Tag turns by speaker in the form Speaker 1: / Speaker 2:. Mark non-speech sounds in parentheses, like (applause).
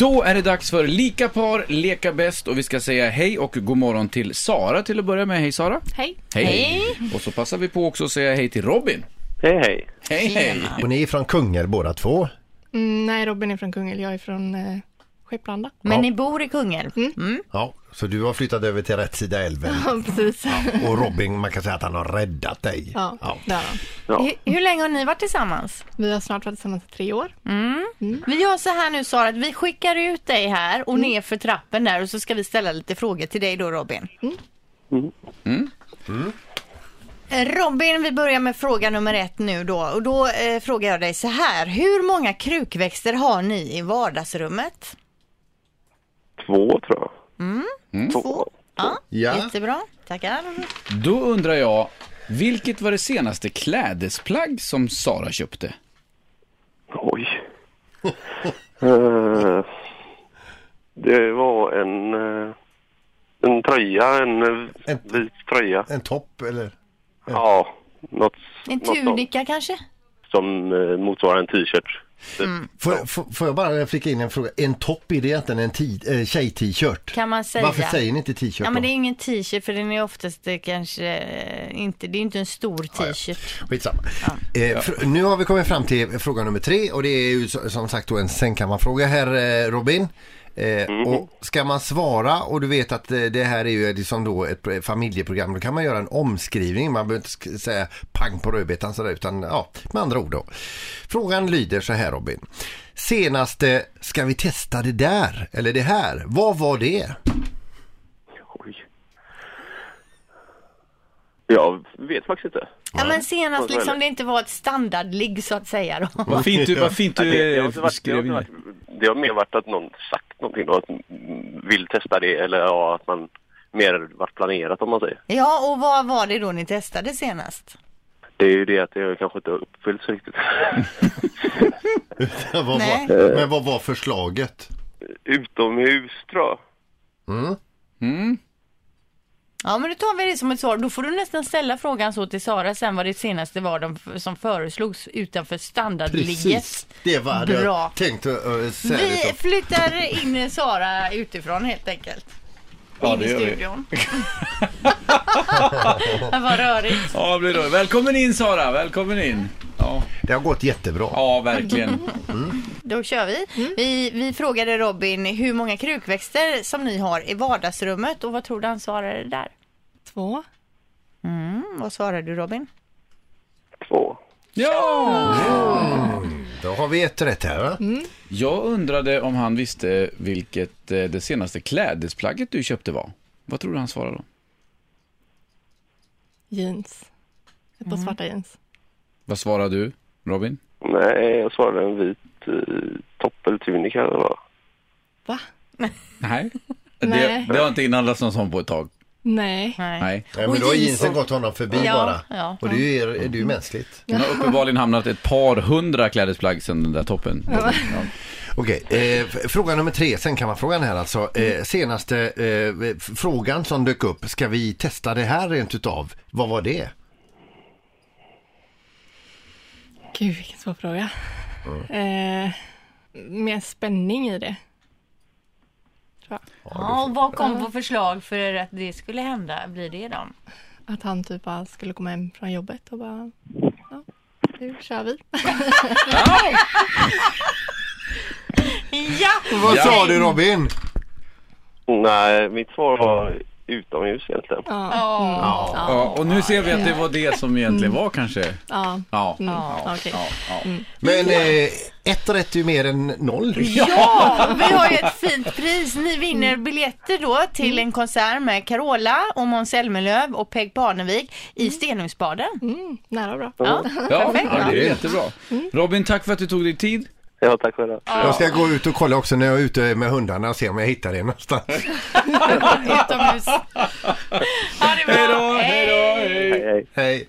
Speaker 1: Då är det dags för Lika par, leka bäst och vi ska säga hej och god morgon till Sara till att börja med. Hej Sara!
Speaker 2: Hej.
Speaker 1: Och så passar vi på också att säga hej till Robin.
Speaker 3: Hej hej.
Speaker 1: Hej hej!
Speaker 4: Och ni är från Kungälv båda två.
Speaker 2: Mm, nej, Robin är från Kungälv. Jag är från eh, Skepplanda.
Speaker 5: Men
Speaker 4: Ja.
Speaker 5: ni bor i Kungälv?
Speaker 4: Ja, så du har flyttat över till rätt sida älven.
Speaker 2: Ja, precis.
Speaker 4: Och Robin, man kan säga att han har räddat dig.
Speaker 2: Ja, det har han.
Speaker 3: Ja.
Speaker 5: Hur, hur länge har ni varit tillsammans?
Speaker 2: Vi har snart varit tillsammans i tre år.
Speaker 5: Vi gör så här nu Sara, att vi skickar ut dig här och ner för trappen där och så ska vi ställa lite frågor till dig då Robin.
Speaker 4: Mm.
Speaker 5: Eh, Robin, vi börjar med fråga nummer ett nu då och då eh, frågar jag dig så här. Hur många krukväxter har ni i vardagsrummet?
Speaker 3: Två tror jag.
Speaker 5: Två. Ja,
Speaker 4: Ja.
Speaker 5: jättebra. Tackar.
Speaker 1: Då undrar jag, vilket var det senaste klädesplagg som Sara köpte?
Speaker 3: (laughs) Oj. Eh, det var en, eh, en tröja, en eh,
Speaker 4: En-
Speaker 3: vit tröja.
Speaker 4: En topp eller?
Speaker 3: Ja, något,
Speaker 5: En
Speaker 3: något sånt
Speaker 5: tunika kanske?
Speaker 3: som eh, motsvarar en t-shirt. Typ.
Speaker 4: Får, får, får jag bara flika in en fråga? En topp är det egentligen en ti- eh, tjej-t-shirt?
Speaker 5: Kan man säga.
Speaker 4: Varför säger ni inte t-shirt
Speaker 5: Ja
Speaker 4: då?
Speaker 5: men det är ingen t-shirt för den är oftast eh, kanske eh, inte, det är inte en stor t-shirt.
Speaker 4: Skitsamma. Eh, fr- nu har vi kommit fram till fråga nummer tre och det är ju så- som sagt då en sängkammarfråga här eh, Robin. Eh, och ska man svara och du vet att eh, det här är ju liksom då ett pro- familjeprogram då kan man göra en omskrivning. Man behöver inte sk- säga pang på rödbetan sådär utan ja, med andra ord då. Frågan lyder så här Robin. Senaste, ska vi testa det där eller det här? Vad var det?
Speaker 3: Oj. Jag vet faktiskt inte.
Speaker 5: Ja, men senast
Speaker 3: Och så är
Speaker 5: liksom
Speaker 3: det.
Speaker 5: det inte var ett standardligg så att säga då. (laughs)
Speaker 1: Vad fint du, vad fint
Speaker 3: Det, det,
Speaker 1: du
Speaker 3: har
Speaker 1: eh,
Speaker 3: inte varit, det, har
Speaker 1: skrev
Speaker 3: inte
Speaker 1: in.
Speaker 3: varit, det har mer varit att någon sagt någonting och att mm, vill testa det eller ja, att man mer varit planerat om man säger.
Speaker 5: Ja, och vad var det då ni testade senast?
Speaker 3: Det är ju det att det kanske inte har uppfyllts riktigt.
Speaker 4: (laughs) Vad var-
Speaker 5: Nej.
Speaker 4: men vad var förslaget?
Speaker 3: Utomhus tror jag.
Speaker 5: Ja, men då tar vi det som ett svar. Då får du nästan ställa frågan så till Sara sen vad det senaste var de f- som föreslogs utanför standardligget.
Speaker 4: det var det
Speaker 5: Bra.
Speaker 4: jag tänkte eh, säga. det
Speaker 5: Vi
Speaker 4: som-
Speaker 5: flyttar in Sara utifrån helt enkelt.
Speaker 1: Ja,
Speaker 5: in
Speaker 1: det
Speaker 5: i
Speaker 1: gör vi.
Speaker 5: studion.
Speaker 1: (laughs)
Speaker 5: (laughs) vad rörigt.
Speaker 1: Ja, det blir då. Välkommen in Sara, välkommen in. Ja,
Speaker 4: Det har gått jättebra.
Speaker 1: ja verkligen.
Speaker 5: Då kör vi. vi. Vi frågade Robin hur många krukväxter som ni har i vardagsrummet och vad tror du han svarade där?
Speaker 2: Två.
Speaker 5: Mm, vad svarade du Robin?
Speaker 3: Två.
Speaker 1: (laughs) Ja!
Speaker 4: Då har vi ett rätt här.
Speaker 5: Mm.
Speaker 4: va?
Speaker 1: Jag undrade om han visste vilket eh, det senaste klädesplagget du köpte var. Vad tror du han svarade då?
Speaker 2: Jeans. Ett par svarta jeans.
Speaker 1: Vad svarade du, Robin?
Speaker 3: Nej, jag svarade en vit eh, topp eller tunika eller vad.
Speaker 2: Va?
Speaker 1: Nej.
Speaker 2: Nej.
Speaker 1: Det, det har inte inhandlats någon sån på ett tag.
Speaker 2: Nej.
Speaker 1: Nej.
Speaker 4: Nej,
Speaker 5: Och
Speaker 4: men då har
Speaker 5: jeans
Speaker 4: jeansen
Speaker 5: och-
Speaker 4: gått honom förbi
Speaker 5: Ja,
Speaker 4: bara.
Speaker 5: ja.
Speaker 4: och det är ju, är det är ju mänskligt.
Speaker 1: Den har uppenbarligen hamnat ett par hundra klädesplagg sedan den där toppen. Ja.
Speaker 4: Okej, eh, f- fråga nummer tre, sen kan man frågan här alltså.
Speaker 5: Mm.
Speaker 4: Eh, senaste eh, f- frågan som dök upp, ska vi testa det här rent utav? Vad var det?
Speaker 2: Gud, vilken svår fråga. Eh, mer spänning i det. Tror jag.
Speaker 5: Ja, och vad kom på förslag för att det skulle hända? Blir det dem?
Speaker 2: Att han typ bara skulle komma hem från jobbet och bara... Ja, nu kör vi.
Speaker 5: Ja!
Speaker 4: Vad
Speaker 1: Ja.
Speaker 4: sa du Robin?
Speaker 3: Nej, mitt svar var utomhus egentligen.
Speaker 2: Ja.
Speaker 1: Ja, och nu ser vi att det var det som egentligen var kanske.
Speaker 2: Ja.
Speaker 1: Ja.
Speaker 2: Mm.
Speaker 1: Ja.
Speaker 2: Okej.
Speaker 1: Ja. Ja.
Speaker 4: Men eh, ett rätt är ju mer än noll.
Speaker 5: Ja, vi har ju ett fint pris. Ni vinner biljetter då till en konsert med Carola och Måns Zelmerlöw och Peg Parnevik i Stenungsbaden.
Speaker 2: Mm, nära och bra.
Speaker 5: Ja.
Speaker 1: Ja,
Speaker 5: Perfekt,
Speaker 1: ja, det
Speaker 4: ja.
Speaker 1: är jättebra. Robin, tack för att du tog dig tid.
Speaker 3: Ja, tack själv.
Speaker 4: Jag ska gå ut och kolla också när jag är ute med hundarna och se om jag hittar det någonstans.
Speaker 5: (laughs) Utomhus. Ha det bra.
Speaker 1: Hej då, hej då, hej.
Speaker 3: Hej, hej.
Speaker 4: Hej.